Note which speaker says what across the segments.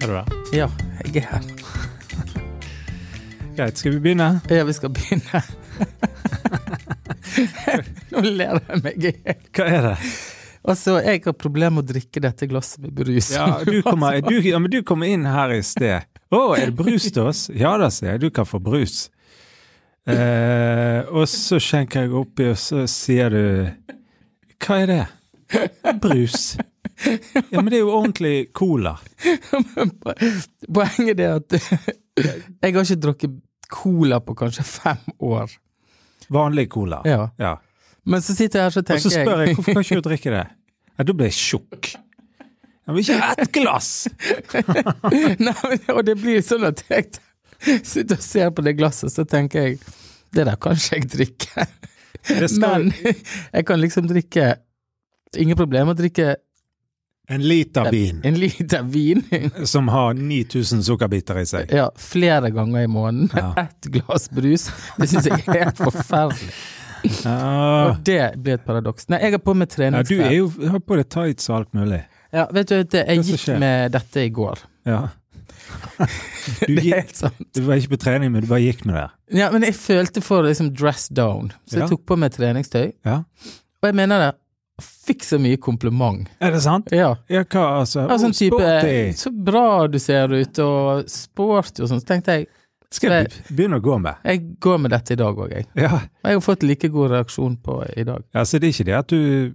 Speaker 1: Ja, jeg er her.
Speaker 2: Greit, skal vi begynne?
Speaker 1: Ja, vi skal begynne. Nå ler jeg meg i hjel.
Speaker 2: Hva er det?
Speaker 1: Altså, jeg har problemer med å drikke dette glasset med brus.
Speaker 2: Ja, du kommer, du, ja, men du kommer inn her i sted. Å, er det brus til oss? Ja da, sier jeg. Du kan få brus. Eh, og så skjenker jeg oppi, og så sier du Hva er det? Brus. Ja, men det er jo ordentlig cola.
Speaker 1: Altså, Poenget er at jeg har ikke drukket cola på kanskje fem år.
Speaker 2: Vanlig cola.
Speaker 1: Ja. Men så sitter jeg her så
Speaker 2: Og så
Speaker 1: tenker
Speaker 2: spør jeg
Speaker 1: jeg
Speaker 2: hvorfor kan ikke du drikke det? Ja, da blir jeg tjukk. Ja, men ikke ett glass!
Speaker 1: Nei, men- Og det blir sånn at jeg sitter og ser på det glasset, så tenker jeg det der kan ikke jeg drikke.
Speaker 2: Det skal
Speaker 1: Men jeg kan liksom drikke Ingen problem med å drikke
Speaker 2: en liter vin
Speaker 1: en liter vin
Speaker 2: som har 9000 sukkerbiter i seg.
Speaker 1: ja, flere ganger i måneden.
Speaker 2: Ja.
Speaker 1: Ett glass brus. Det syns jeg er helt forferdelig.
Speaker 2: Ja.
Speaker 1: Og det blir et paradoks. Nei, jeg har på meg
Speaker 2: Ah, Ja, du
Speaker 1: treningsklær.
Speaker 2: er jo har på deg tights og alt mulig.
Speaker 1: Ja, vet du, det, jeg
Speaker 2: Hva som
Speaker 1: gikk
Speaker 2: skjer?
Speaker 1: med dette i går.
Speaker 2: Ja. Du,
Speaker 1: Det er
Speaker 2: gikk,
Speaker 1: helt sant.
Speaker 2: du var ikke på trening, men du bare gikk med det.
Speaker 1: Ja, men jeg følte for liksom dress down, så jeg
Speaker 2: Ja.
Speaker 1: tok på meg treningstøy.
Speaker 2: Ja.
Speaker 1: Og jeg mener det. Fikk så mye kompliment.
Speaker 2: Er det sant?
Speaker 1: Ja.
Speaker 2: Ja, hva altså?
Speaker 1: Ja, sånn
Speaker 2: Å,
Speaker 1: type
Speaker 2: sporty!
Speaker 1: Så bra du ser ut, og sporty og sånn. Så tenkte jeg
Speaker 2: Skal jeg begynne å gå med?
Speaker 1: jeg går med dette i dag òg, jeg.
Speaker 2: Ja.
Speaker 1: Og jeg har fått like god reaksjon på i dag.
Speaker 2: ja, så det er ikke det at du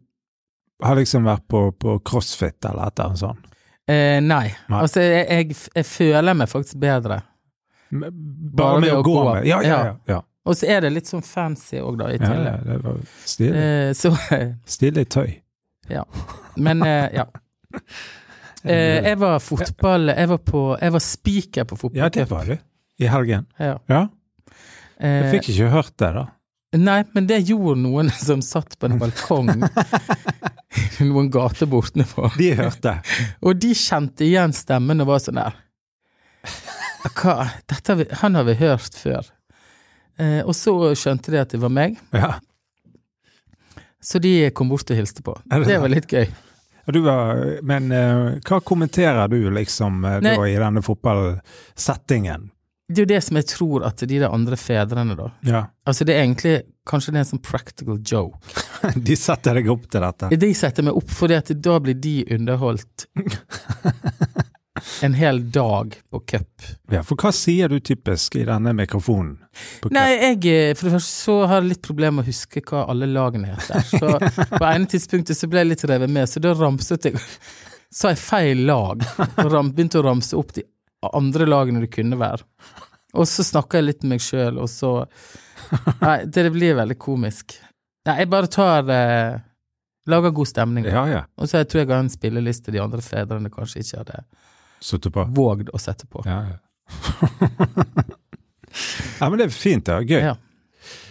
Speaker 2: har liksom vært på, på crossfit eller et eller annet sånt?
Speaker 1: Eh, nei.
Speaker 2: Nei.
Speaker 1: Altså, jeg, jeg, jeg føler meg faktisk bedre.
Speaker 2: Men Bare med å gå med? Ja, ja, ja. ja.
Speaker 1: Og så er det litt sånn fancy òg, da, i
Speaker 2: ja,
Speaker 1: tillegg.
Speaker 2: ja det var stilig.
Speaker 1: Eh, så
Speaker 2: Stilig tøy.
Speaker 1: Men eh, ja. Eh, jeg var fotball Jeg var på Jeg var speaker på fotball.
Speaker 2: Ja, det var du. I helgen.
Speaker 1: Ja.
Speaker 2: Ja. Jeg
Speaker 1: Eh,
Speaker 2: fikk ikke hørt det, da.
Speaker 1: nei, men det gjorde noen som satt på en balkong noen gater bortenfor.
Speaker 2: De hørte.
Speaker 1: Og de kjente igjen stemmen og var sånn der Hva? Dette har vi, han har vi hørt før. Eh, og så skjønte de at det var meg,
Speaker 2: Ja.
Speaker 1: så de kom bort og hilste på.
Speaker 2: Er det
Speaker 1: Det var litt gøy.
Speaker 2: Og Du var, men eh, hva kommenterer du liksom eh, da
Speaker 1: Nei.
Speaker 2: i denne fotballsettingen?
Speaker 1: Det er jo det som jeg tror at de der andre fedrene, da
Speaker 2: Ja.
Speaker 1: Altså, det er egentlig kanskje det er en sånn practical joke.
Speaker 2: De setter deg opp til dette.
Speaker 1: De setter meg opp fordi at da blir de underholdt en hel dag på cup.
Speaker 2: Ja, for hva sier du typisk i denne mikrofonen? På
Speaker 1: Nei, jeg eh, for det første så har jeg litt problemer med å huske hva alle lagene heter. Så på ene tidspunktet så ble jeg litt revet med, så da ramset jeg Sa jeg feil lag? Og ram, begynte å ramse opp de andre lagene det kunne være. Og så snakka jeg litt med meg sjøl, og så Nei, det blir veldig komisk. Nei, jeg bare tar eh, Lager god stemning.
Speaker 2: Ja, ja.
Speaker 1: Og så jeg tror jeg har en spilleliste de andre fedrene kanskje ikke hadde
Speaker 2: Sitter på.
Speaker 1: vågd å sette på.
Speaker 2: Ja, ja. ja, men det er fint. da, Gøy.
Speaker 1: Ja.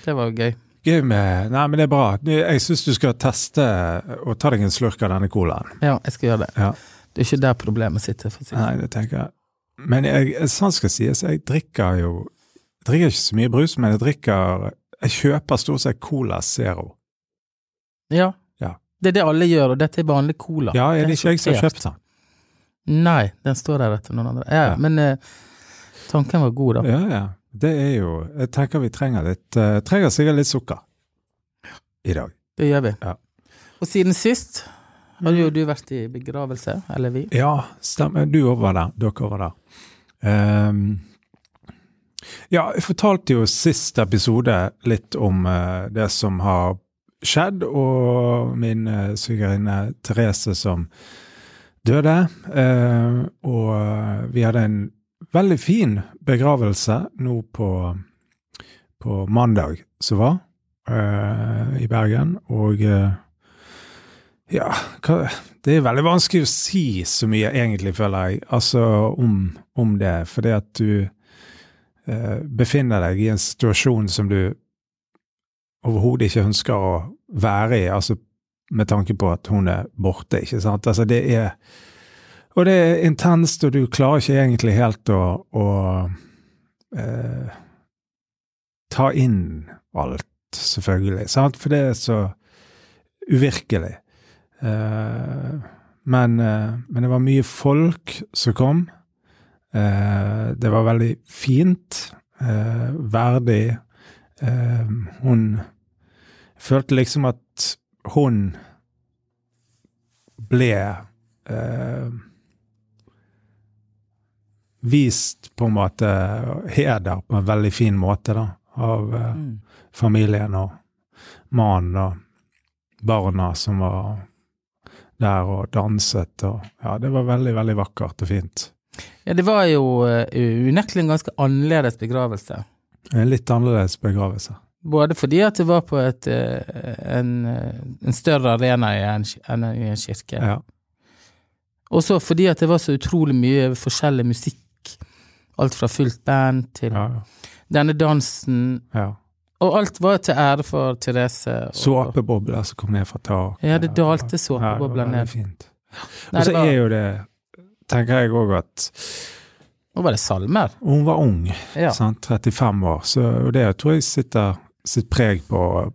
Speaker 1: Det var jo gøy.
Speaker 2: Gøy med Nei, men det er bra. Du, Jeg syns du skal teste og ta deg en slurk av denne colaen.
Speaker 1: Ja, jeg skal gjøre det.
Speaker 2: Ja.
Speaker 1: Det er ikke der problemet sitter. For å si. det.
Speaker 2: Nei, det tenker jeg. Men jeg, sånn skal sies, jeg drikker jo jeg drikker ikke så mye brus, men jeg drikker Jeg kjøper stort sett Cola Zero.
Speaker 1: Ja.
Speaker 2: Ja.
Speaker 1: Det er det alle gjør, og dette er vanlig cola.
Speaker 2: Ja, er det ikke jeg som har
Speaker 1: sortert.
Speaker 2: kjøpt den?
Speaker 1: Nei, den står der etter noen andre. Ja,
Speaker 2: Ja.
Speaker 1: Men eh, tanken var god, da.
Speaker 2: Ja, ja. Det er jo Jeg tenker vi trenger litt eh, Trenger sikkert litt sukker i dag.
Speaker 1: Det gjør vi.
Speaker 2: Ja. Mm.
Speaker 1: Og siden sist har jo du vært i begravelse, eller vi.
Speaker 2: Ja, stemmer. Du òg var der. Dere var der. Ehm, ja, jeg fortalte jo sist episode litt om eh, det som har skjedd, og min uh, svigerinne Therese som døde. Eh, og vi hadde en veldig fin begravelse nå på, på mandag som var, eh, i Bergen. Og eh, ja, hva, det er veldig vanskelig å si så mye, egentlig, føler jeg, altså om, om det. Fordi at du eh, befinner deg i en situasjon som du overhodet ikke ønsker å være i, altså med tanke på at hun er borte, ikke sant. Altså det er Og det er intenst, og du klarer ikke egentlig helt å, å eh, ta inn alt, selvfølgelig, sant, for det er så uvirkelig. Eh, men, eh, men det var mye folk som kom. Eh, det var veldig fint, eh, verdig. Eh, hun følte liksom at hun ble eh, vist på en måte eh, heder på en veldig fin måte da, av eh,
Speaker 1: Mm.
Speaker 2: familien og mannen og barna som var der og danset og Ja, det var veldig, veldig vakkert og fint.
Speaker 1: Ja, det var jo eh, unektelig en ganske annerledes begravelse.
Speaker 2: En litt annerledes begravelse.
Speaker 1: Både fordi at det var på et, eh, en, eh, en større arena i en, ki- enn i en kirke,
Speaker 2: Ja.
Speaker 1: og så fordi at det var så utrolig mye forskjellig musikk. Alt fra fullt band til
Speaker 2: ja,
Speaker 1: denne dansen.
Speaker 2: ja.
Speaker 1: Og alt var til ære for Therese. og-
Speaker 2: Såpebobler som kom ned fra taket.
Speaker 1: Ja, det dalte
Speaker 2: Ja, det var
Speaker 1: såpebobler
Speaker 2: veldig
Speaker 1: ned.
Speaker 2: Fint.
Speaker 1: Nei,
Speaker 2: Og så
Speaker 1: det var,
Speaker 2: er jo det, tenker jeg òg, at
Speaker 1: nå var det salmer.
Speaker 2: hun var ung,
Speaker 1: Ja.
Speaker 2: sant? 35 år, så og det tror jeg sitter sitt preg på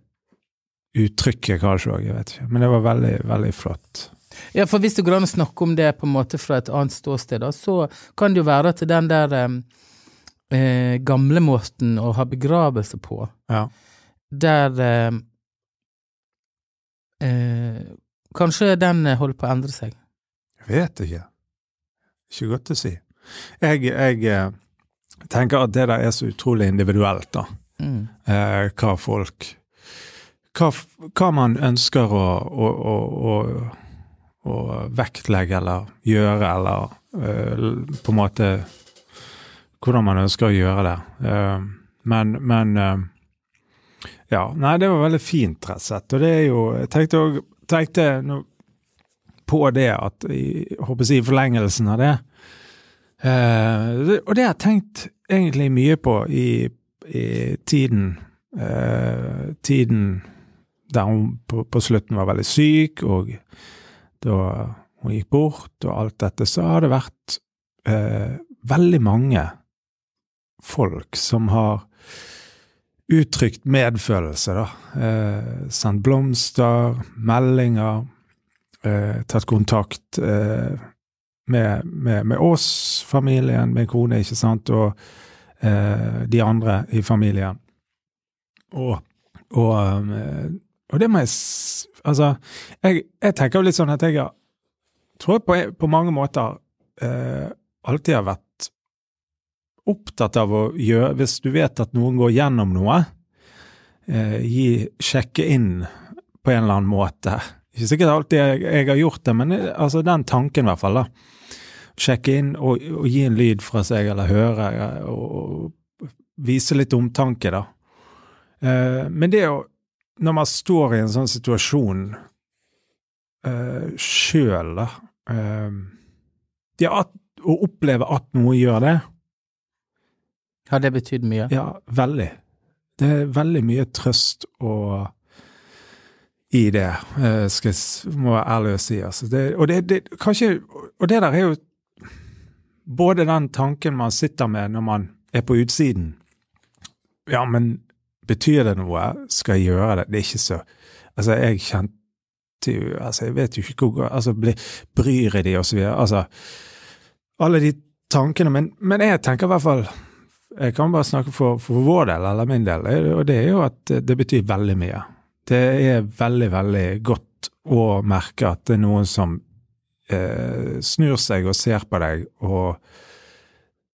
Speaker 2: uttrykket kanskje òg, jeg vet ikke. Men det var veldig, veldig flott.
Speaker 1: Ja, for hvis det går an å snakke om det på en måte fra et annet ståsted, da, så kan det jo være at den der eh, eh, gamle måten å ha begravelse på,
Speaker 2: Ja.
Speaker 1: der eh, eh, Kanskje den eh, holder på å endre seg.
Speaker 2: Jeg vet ikke. Ikke godt å si. Jeg, jeg eh, tenker at det der er så utrolig individuelt, da.
Speaker 1: Mm.
Speaker 2: Eh, hva folk Hva, f- hva man ønsker å, å, å, å, å vektlegge eller gjøre, eller eh, l- på en måte Hvordan man ønsker å gjøre det. Eh, men men eh, Ja. Nei, det var veldig fint, rett og slett. Og det er jo Jeg tenkte, også- tenkte nå på det at i, jeg håper å si, i forlengelsen av det eh, det- Og det har jeg tenkt egentlig mye på i, i tiden eh, Tiden der hun på, på slutten var veldig syk, og da hun gikk bort og alt dette, så har det vært eh, veldig mange folk som har uttrykt medfølelse, da. Eh, sendt blomster, meldinger, eh, tatt kontakt eh, med, med, med oss, familien, min kone, ikke sant, og eh, de andre i familien. Og, og, eh, og det må jeg s- Altså, jeg, jeg tenker jo litt sånn at jeg har- tror jeg på, på mange måter eh, alltid har vært opptatt av å gjøre Hvis du vet at noen går gjennom noe, eh, gi, sjekke inn på en eller annen måte. Ikke sikkert alltid jeg, jeg har gjort det, men eh, altså den tanken i hvert fall. da. Sjekke inn og, og gi en lyd fra seg, eller høre, eh, og, og vise litt omtanke, da. Eh, men det å Når man står i en sånn situasjon uh, sjøl, da eh, Ja, at, å oppleve at noe gjør det,
Speaker 1: Har det betydd mye?
Speaker 2: ja, veldig. Det er veldig mye trøst og i det, eh, skal jeg s- må være ærlig og si. Altså. Det, og, det, det, kanskje, og det der er jo både den tanken man sitter med når man er på utsiden. Ja, men betyr det noe? Skal jeg gjøre det? Det er ikke så Altså, jeg kjente jo altså, Jeg vet jo ikke hvor altså, bli, Bryr jeg de, og så videre? Altså, alle de tankene. Men, men jeg tenker i hvert fall jeg Eh, kan bare snakke for, for vår del, eller min del, og det er jo at eh, det betyr veldig mye. Det er veldig, veldig godt å merke at det er noen som eh, snur seg og ser på deg og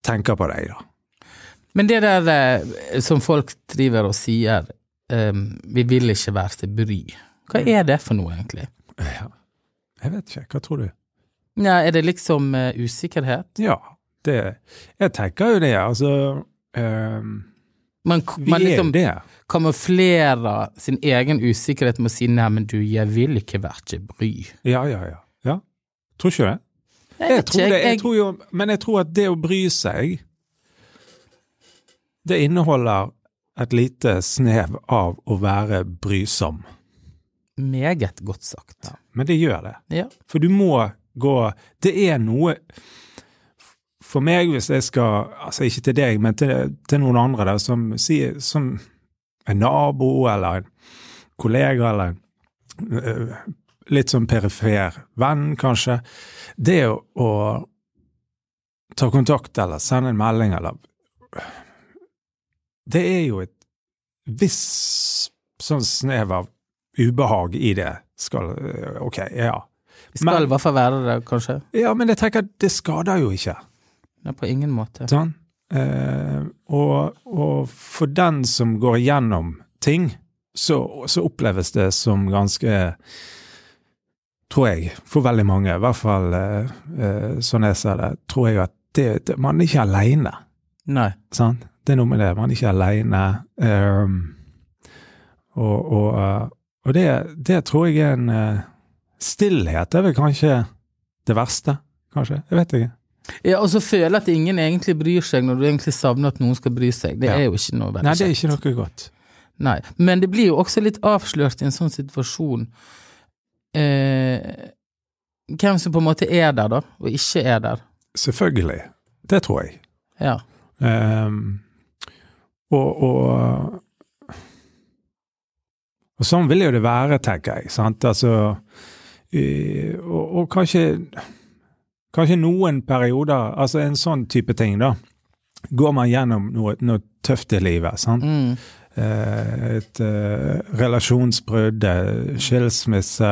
Speaker 2: tenker på deg, da.
Speaker 1: Men det der eh, som folk driver og sier, eh, vi vil ikke være til bry.
Speaker 2: Mm.
Speaker 1: Hva er det for noe, egentlig?
Speaker 2: Jeg vet ikke, hva tror du?
Speaker 1: Ja, er det liksom eh, usikkerhet?
Speaker 2: Ja, det Jeg tenker jo det, altså eh,
Speaker 1: Man,
Speaker 2: Vi
Speaker 1: man
Speaker 2: er jo
Speaker 1: liksom
Speaker 2: det.
Speaker 1: kamuflerer sin egen usikkerhet med å si 'nei, men du, jeg vil ikke være til bry'.
Speaker 2: Ja, ja, ja. ja. Tror ikke du det? Jeg tror det. Jeg tror jo, men jeg tror at det å bry seg, det inneholder et lite snev av å være brysom.
Speaker 1: Meget godt sagt.
Speaker 2: Men det gjør det.
Speaker 1: Ja.
Speaker 2: For du må gå Det er noe For meg, hvis jeg skal Altså ikke til deg, men til, til noen andre der, som, sier- som en nabo eller en kollega eller en øh, litt sånn perifer venn, kanskje Det å, å ta kontakt eller send en melding eller Det er jo et visst sånn snev av ubehag i det. Skal eh, Ok, ja.
Speaker 1: Vi skal
Speaker 2: Men-
Speaker 1: i hvert fall være det, kanskje.
Speaker 2: Ja, men jeg tenker at det skader jo ikke.
Speaker 1: Nei, på ingen måte.
Speaker 2: Sånn. Eh, og, og for den som går gjennom ting, så, så oppleves det som ganske Tror jeg, for veldig mange, i hvert fall eh, eh, sånn jeg ser det, tror jeg at det, det, man er ikke aleine.
Speaker 1: Nei.
Speaker 2: Sant? Det er noe med det. Man er ikke aleine. og og, eh, og det, det tror jeg er en eh, Stillhet er vel kanskje det verste, kanskje. Jeg vet ikke.
Speaker 1: Ja, og så føle at ingen egentlig bryr seg, når du egentlig savner at noen skal bry seg. Det
Speaker 2: Ja.
Speaker 1: er jo ikke noe veldig
Speaker 2: Nei, det er
Speaker 1: kjekt.
Speaker 2: ikke noe godt.
Speaker 1: Nei. Men det blir jo også litt avslørt i en sånn situasjon eh, hvem som på en måte er der, da, og ikke er der.
Speaker 2: Selvfølgelig. Det tror jeg.
Speaker 1: Ja.
Speaker 2: Ehm, og, og Og sånn vil jo det være, tenker jeg. Sant? Altså i, og, og kanskje Kanskje noen perioder, altså en sånn type ting, da. Går man gjennom noe, noe tøft i livet, sant?
Speaker 1: Mm.
Speaker 2: Eh, et eh, relasjonsbrudd, eh, skilsmisse,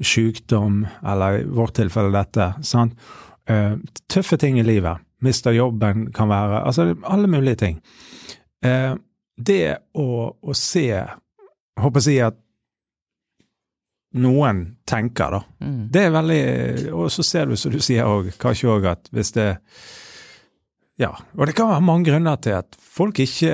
Speaker 2: sykdom, eller i vårt tilfelle dette. Sant? Eh, tøffe ting i livet. Mister jobben, kan være Altså det- alle mulige ting. Eh, det å, å se Håper å si at noen tenker, da.
Speaker 1: Mm.
Speaker 2: Det er veldig Og så ser du, som du sier òg, kanskje òg at hvis det Ja. Og det kan være mange grunner til at folk ikke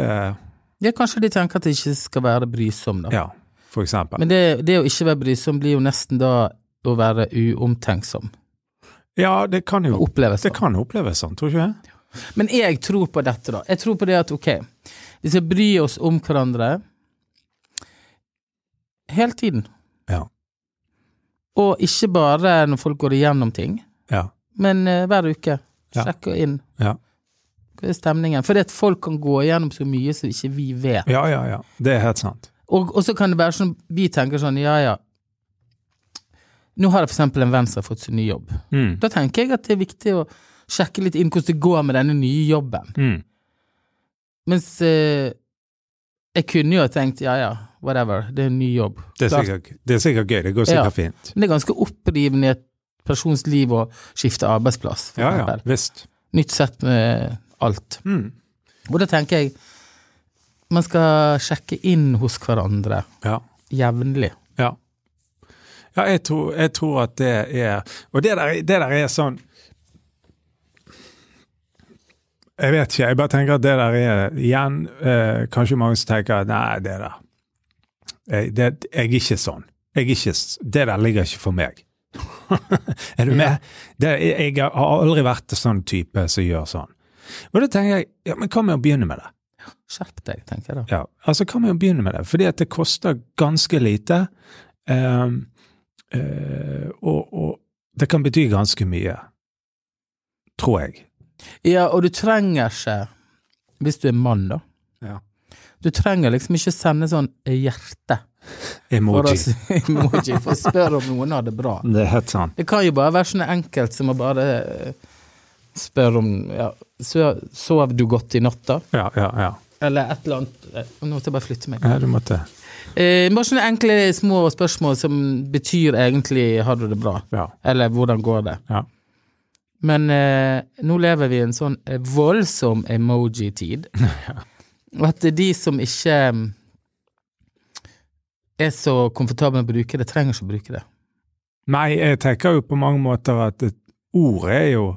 Speaker 1: Ja, kanskje de tenker at det ikke skal være brysom, da.
Speaker 2: Ja, for eksempel.
Speaker 1: Men det, det å ikke være brysom blir jo nesten da å være uomtenksom.
Speaker 2: ja, det kan jo
Speaker 1: Oppleves
Speaker 2: Det
Speaker 1: sånn.
Speaker 2: kan oppleves sånn, tror du ikke det?
Speaker 1: Men jeg tror på dette, da. Jeg tror på det at ok, vi skal bry oss om hverandre hele tiden.
Speaker 2: Ja.
Speaker 1: Og ikke bare når folk går igjennom ting,
Speaker 2: Ja.
Speaker 1: men eh, hver uke.
Speaker 2: Ja.
Speaker 1: Sjekke inn.
Speaker 2: Ja.
Speaker 1: Hva er stemningen? Fordi at folk kan gå igjennom så mye som ikke vi vet.
Speaker 2: ja, ja, ja. Det er helt sant.
Speaker 1: Og, og så kan det være sånn, vi tenker sånn, ja ja. Nå har jeg for eksempel en venn som har fått seg ny jobb.
Speaker 2: Mm.
Speaker 1: Da tenker jeg at det er viktig å sjekke litt inn hvordan det går med denne nye jobben.
Speaker 2: Mm.
Speaker 1: Mens eh, jeg kunne jo ha tenkt ja ja, whatever, det er en ny jobb.
Speaker 2: Det, er
Speaker 1: Klart.
Speaker 2: sikkert, det er sikkert gøy. Det går sikkert
Speaker 1: Ja.
Speaker 2: fint.
Speaker 1: Men det er ganske opprivende i et persons liv å skifte arbeidsplass, for
Speaker 2: Ja, ja.
Speaker 1: eksempel.
Speaker 2: Visst.
Speaker 1: Nytt sett med alt.
Speaker 2: Mm.
Speaker 1: Og da tenker jeg man skal sjekke inn hos hverandre
Speaker 2: Ja.
Speaker 1: jevnlig.
Speaker 2: Ja. ja jeg, tror, jeg tror at det er Og det der, det der er sånn Jeg vet ikke. Jeg bare tenker at det der er igjen eh, Kanskje mange som tenker at nei, det der jeg, det, jeg er ikke sånn. Jeg er ikke, s- det der ligger ikke for meg. er du med? Det, jeg, jeg har aldri vært en sånn type som gjør sånn. Og da tenker jeg, ja, men hva med å begynne med det?
Speaker 1: Skjerp deg, tenker jeg da.
Speaker 2: Ja, altså kan man jo begynne med det, fordi at det koster ganske lite, ehm, eh, og, og det kan bety ganske mye, tror jeg.
Speaker 1: Ja, og du trenger ikke, hvis du er mann, da
Speaker 2: Ja.
Speaker 1: Du trenger liksom ikke sende sånn hjerte for å,
Speaker 2: Emoji.
Speaker 1: s- emoji for å spørre om noen har det bra.
Speaker 2: Det er helt sant.
Speaker 1: Det kan jo bare være sånn enkelt som å bare eh, spørre om ja, så- Sov du godt i natt, da?
Speaker 2: Ja, ja, ja.
Speaker 1: Eller et eller annet eh, Nå måtte jeg bare flytte meg.
Speaker 2: ja du måtte.
Speaker 1: Eh, bare sånne enkle små spørsmål som betyr egentlig 'har du det bra'?
Speaker 2: Ja.
Speaker 1: Eller 'hvordan går det'?
Speaker 2: Ja.
Speaker 1: Men eh, nå lever vi i en sånn eh, voldsom emoji-tid. Og at det er de som ikke mm, er så komfortable med å bruke det, trenger ikke å bruke det.
Speaker 2: Nei, jeg tenker jo på mange måter at et ord er jo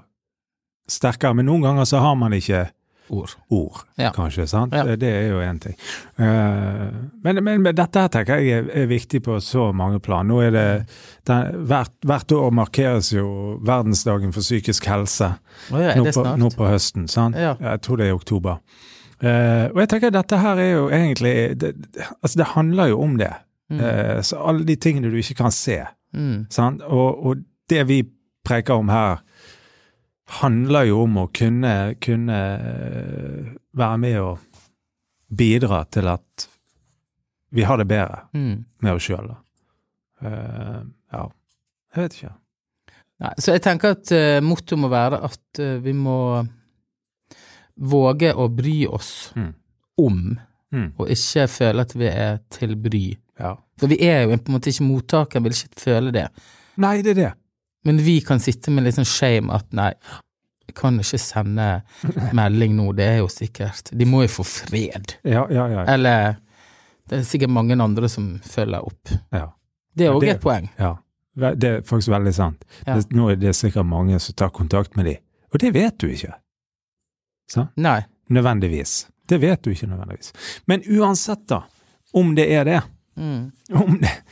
Speaker 2: sterkere, men noen ganger så har man ikke
Speaker 1: Ord.
Speaker 2: ord,
Speaker 1: Ja.
Speaker 2: kanskje. sant?
Speaker 1: Ja.
Speaker 2: Det er jo én ting. Eh, men, men, men dette her tenker jeg er, er viktig på så mange plan. Nå er det, den, hvert, hvert år markeres jo verdensdagen for psykisk helse
Speaker 1: Å ja, er
Speaker 2: nå
Speaker 1: det
Speaker 2: på,
Speaker 1: snart?
Speaker 2: nå på høsten. sant?
Speaker 1: Ja.
Speaker 2: Jeg tror det er i oktober. Eh, og jeg tenker dette her er jo egentlig det, det- Altså, det handler jo om det. Eh, så alle de tingene du ikke kan se.
Speaker 1: Mm.
Speaker 2: Sant? Og, og det vi preker om her, handler jo om å kunne, kunne eh, være med og bidra til at vi har det bedre
Speaker 1: Mm.
Speaker 2: med oss sjøl. Ja, jeg Eh, vet ikke.
Speaker 1: Nei, så jeg tenker at uh, mottoet må være at eh, vi må våge å bry oss
Speaker 2: Mm.
Speaker 1: om,
Speaker 2: Mm.
Speaker 1: og ikke føle at vi er til bry.
Speaker 2: Ja.
Speaker 1: For vi er jo på en måte ikke mottakeren, vil ikke føle det.
Speaker 2: Nei, det er det.
Speaker 1: Men vi kan sitte med litt sånn shame at nei, jeg kan ikke sende melding nå, det er jo sikkert De må jo få fred.
Speaker 2: Ja, ja, ja.
Speaker 1: Eller det er sikkert mange andre som følger opp.
Speaker 2: ja.
Speaker 1: Det er
Speaker 2: Ja,
Speaker 1: òg
Speaker 2: det-
Speaker 1: et poeng.
Speaker 2: ja. Ve- Det er faktisk veldig sant.
Speaker 1: Ja.
Speaker 2: Det, nå er det sikkert mange som tar kontakt med de. Og det vet du ikke. Sant?
Speaker 1: Nei.
Speaker 2: Nødvendigvis. Det vet du ikke nødvendigvis. Men uansett, da, om det er det,
Speaker 1: Mm.
Speaker 2: om det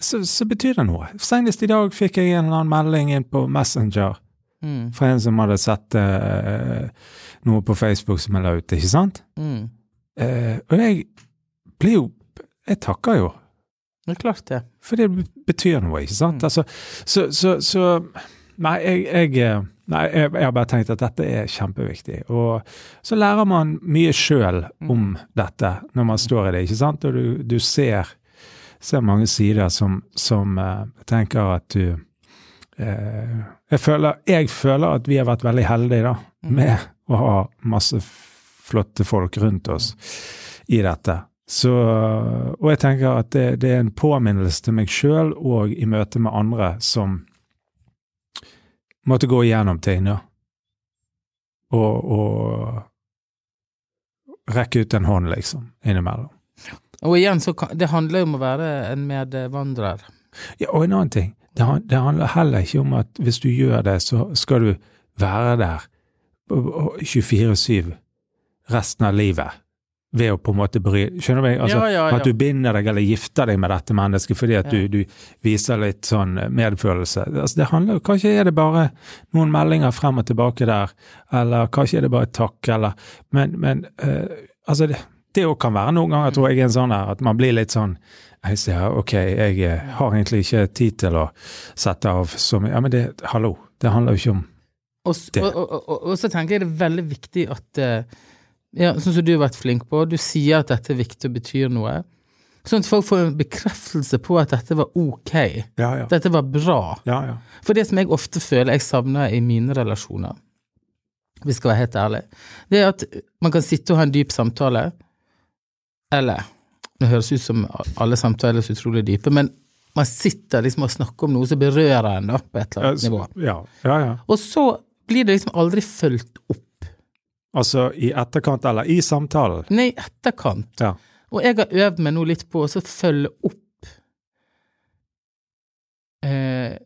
Speaker 2: så, så betyr det noe. Senest i dag fikk jeg en eller annen melding inn på Messenger
Speaker 1: Mm.
Speaker 2: fra en som hadde sett eh, noe på Facebook som jeg la ut, ikke sant?
Speaker 1: Mm.
Speaker 2: Eh, og jeg blir jo Jeg takker jo,
Speaker 1: Det er klart, det.
Speaker 2: for det betyr noe, ikke sant?
Speaker 1: Mm.
Speaker 2: Altså, så, så, så Nei, jeg, jeg eh, Nei, jeg, jeg har bare tenkt at dette er kjempeviktig. Og så lærer man mye sjøl om dette når man står i det, ikke sant? Og du, du ser, ser mange sider som, som eh, tenker at du eh, jeg, føler, jeg føler at vi har vært veldig heldige da,
Speaker 1: Mm.
Speaker 2: med å ha masse flotte folk rundt oss i dette. Så, og jeg tenker at det, det er en påminnelse til meg sjøl og i møte med andre som måtte gå igjennom ting, ja. Og, og rekke ut en hånd, liksom, innimellom.
Speaker 1: Og igjen, så kan, det handler jo om å være en medvandrer.
Speaker 2: Ja, og en annen ting, det, han- det handler heller ikke om at hvis du gjør det, så skal du være der og- og 24-7 resten av livet. Ved å på en måte bry Skjønner du meg? Altså,
Speaker 1: Ja, ja, ja.
Speaker 2: At du binder deg eller gifter deg med dette mennesket fordi at
Speaker 1: Ja.
Speaker 2: du, du viser litt sånn medfølelse. Altså, det handler jo Kanskje er det bare noen meldinger frem og tilbake der, eller kanskje er det bare et takk, eller Men, men eh, altså det, det òg kan være noen ganger, tror jeg, en sånn her, at man blir litt sånn jeg ser, ok, jeg eh, har egentlig ikke tid til å sette av så mye. Ja, men det, hallo, det handler jo ikke om
Speaker 1: Og, s-
Speaker 2: Det.
Speaker 1: og, og, og, og så tenker jeg det er veldig viktig at eh, ja, Sånn som du har vært flink på, du sier at dette er viktig og betyr noe. Sånn at folk får en bekreftelse på at dette var ok.
Speaker 2: Ja, ja.
Speaker 1: Dette var bra.
Speaker 2: ja, ja.
Speaker 1: For det som jeg ofte føler jeg savner i mine relasjoner, vi skal være helt ærlige, det er at man kan sitte og ha en dyp samtale, eller Det høres ut som alle samtaler er så utrolig dype, men man sitter liksom og snakker om noe som berører en da, på et eller annet nivå.
Speaker 2: ja, ja, ja.
Speaker 1: Og så blir det liksom aldri fulgt opp.
Speaker 2: Altså i etterkant eller i samtalen.
Speaker 1: Nei, i etterkant.
Speaker 2: Ja.
Speaker 1: Og jeg har øvd meg nå litt på å så følge opp eh,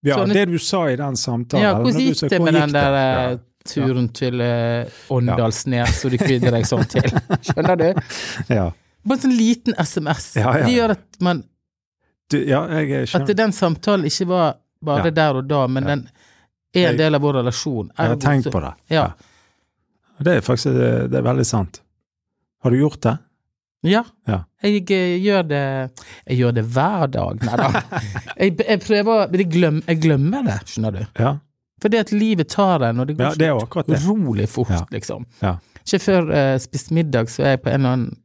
Speaker 2: ja
Speaker 1: Sånn-
Speaker 2: det du sa i den samtalen.
Speaker 1: Ja,
Speaker 2: eller når
Speaker 1: hvordan
Speaker 2: du
Speaker 1: gikk
Speaker 2: sa,
Speaker 1: det med
Speaker 2: hvordan
Speaker 1: den
Speaker 2: gikk
Speaker 1: der eh,
Speaker 2: Ja.
Speaker 1: turen til eh, Åndalsnes og du kvidde deg sånn til? Skjønner du?
Speaker 2: Ja.
Speaker 1: Bare en sånn liten SMS.
Speaker 2: Ja, ja,
Speaker 1: Det
Speaker 2: ja.
Speaker 1: gjør at, man,
Speaker 2: Du, ja, jeg
Speaker 1: at
Speaker 2: skjønner.
Speaker 1: den samtalen ikke var bare
Speaker 2: Ja.
Speaker 1: der og da, men den er
Speaker 2: Jeg-
Speaker 1: en del av vår relasjon.
Speaker 2: Jeg har
Speaker 1: Ergo
Speaker 2: tenkt
Speaker 1: så-
Speaker 2: på det.
Speaker 1: Ja.
Speaker 2: Det er faktisk eh, det er veldig sant. Har du gjort det?
Speaker 1: ja.
Speaker 2: Ja.
Speaker 1: Jeg eh, gjør det Jeg gjør det hver dag, nei da. jeg, jeg prøver Men jeg glemmer, jeg glemmer det, skjønner du.
Speaker 2: Ja,
Speaker 1: For det at livet tar en, og det går
Speaker 2: ja det er jo akkurat det.
Speaker 1: utrolig fort,
Speaker 2: Ja.
Speaker 1: liksom.
Speaker 2: Ja.
Speaker 1: Ikke før jeg spiste middag, så er jeg på en eller annen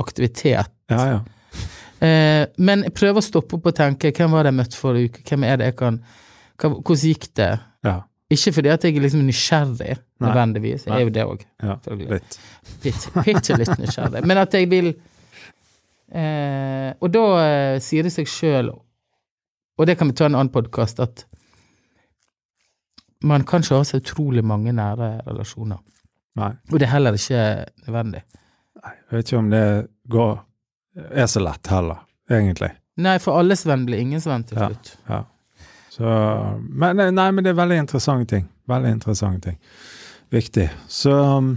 Speaker 1: aktivitet.
Speaker 2: Ja, ja.
Speaker 1: Eh, men jeg prøver å stoppe opp og tenke hvem var det jeg møtte forrige uke, hvem er det jeg kan hva, Hvordan gikk det?
Speaker 2: ja.
Speaker 1: Ikke fordi at jeg er liksom nysgjerrig,
Speaker 2: Nei.
Speaker 1: nødvendigvis. Jeg er jo det òg.
Speaker 2: Ja,
Speaker 1: Selvfølgelig.
Speaker 2: litt.
Speaker 1: Bitte litt nysgjerrig. Men at jeg vil eh, Og da eh, sier det seg sjøl, og det kan vi ta en annen podkast, at man kan ikke ha så utrolig mange nære relasjoner.
Speaker 2: Nei.
Speaker 1: Og det er heller ikke nødvendig.
Speaker 2: Jeg vet ikke om det går er så lett heller, egentlig.
Speaker 1: Nei, for alles venn blir ingens venn til
Speaker 2: Ja.
Speaker 1: slutt.
Speaker 2: Ja. Så, men, nei, men det er veldig interessante ting. Veldig interessante ting. Viktig. Så um,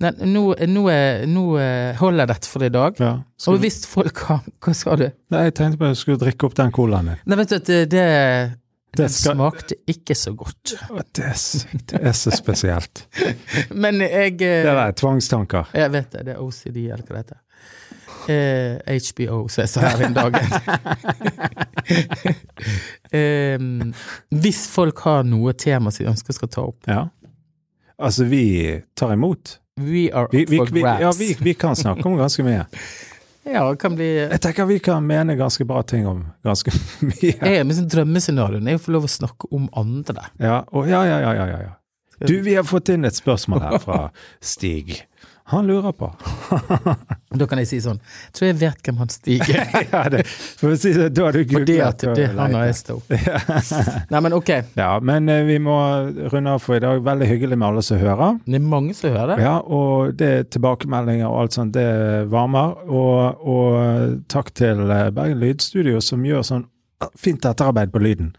Speaker 1: Nei, nå, nå, er- nå eh, holder dette for i dag.
Speaker 2: ja.
Speaker 1: Og
Speaker 2: Skal,
Speaker 1: hvis folk har Hva sa du?
Speaker 2: nei, jeg tenkte bare jeg skulle drikke opp den colaen din.
Speaker 1: Nei, vet du at det, det
Speaker 2: Det
Speaker 1: Den
Speaker 2: skal-
Speaker 1: smakte ikke så godt.
Speaker 2: Å, Det er, s- det er så spesielt.
Speaker 1: Men jeg eh,
Speaker 2: Det er tvangstanker.
Speaker 1: Jeg vet det. Det er OCD, eller hva det heter. Eh, HBO, som jeg sa her en dag. Em, Ehm, hvis folk har noe tema som de ønsker skal ta opp
Speaker 2: Ja. Altså, vi tar imot.
Speaker 1: We are
Speaker 2: Vi,
Speaker 1: up
Speaker 2: vi,
Speaker 1: for
Speaker 2: vi, ja,
Speaker 1: grabs.
Speaker 2: vi, vi kan snakke om ganske mye.
Speaker 1: Ja, det kan bli
Speaker 2: Jeg tenker vi kan mene ganske bra ting om ganske mye.
Speaker 1: Jeg er med sånn drømmescenarioen er jo å få lov å snakke om andre.
Speaker 2: Ja, og ja, ja, ja, ja, ja, ja. Du, vi har fått inn et spørsmål her fra Stig. Han lurer på
Speaker 1: Da kan jeg si sånn Tror jeg vet hvem han Stig er.
Speaker 2: ja, det, for å si det, Da har du
Speaker 1: Fordi
Speaker 2: googlet
Speaker 1: at
Speaker 2: og
Speaker 1: det er han og
Speaker 2: letet.
Speaker 1: jeg står opp. Nei, men ok.
Speaker 2: Ja, men eh, vi må runde av for i dag. Veldig hyggelig med alle som hører.
Speaker 1: Det er mange som hører.
Speaker 2: Ja, og det er tilbakemeldinger og alt sånt, det varmer. Og, og takk til eh, Bergen Lydstudio som gjør sånn ah, fint etterarbeid på lyden.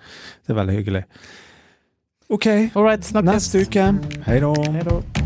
Speaker 2: Det er veldig hyggelig. Ok,
Speaker 1: All right, snakkes.
Speaker 2: neste uke. Hei da.
Speaker 1: Hei da.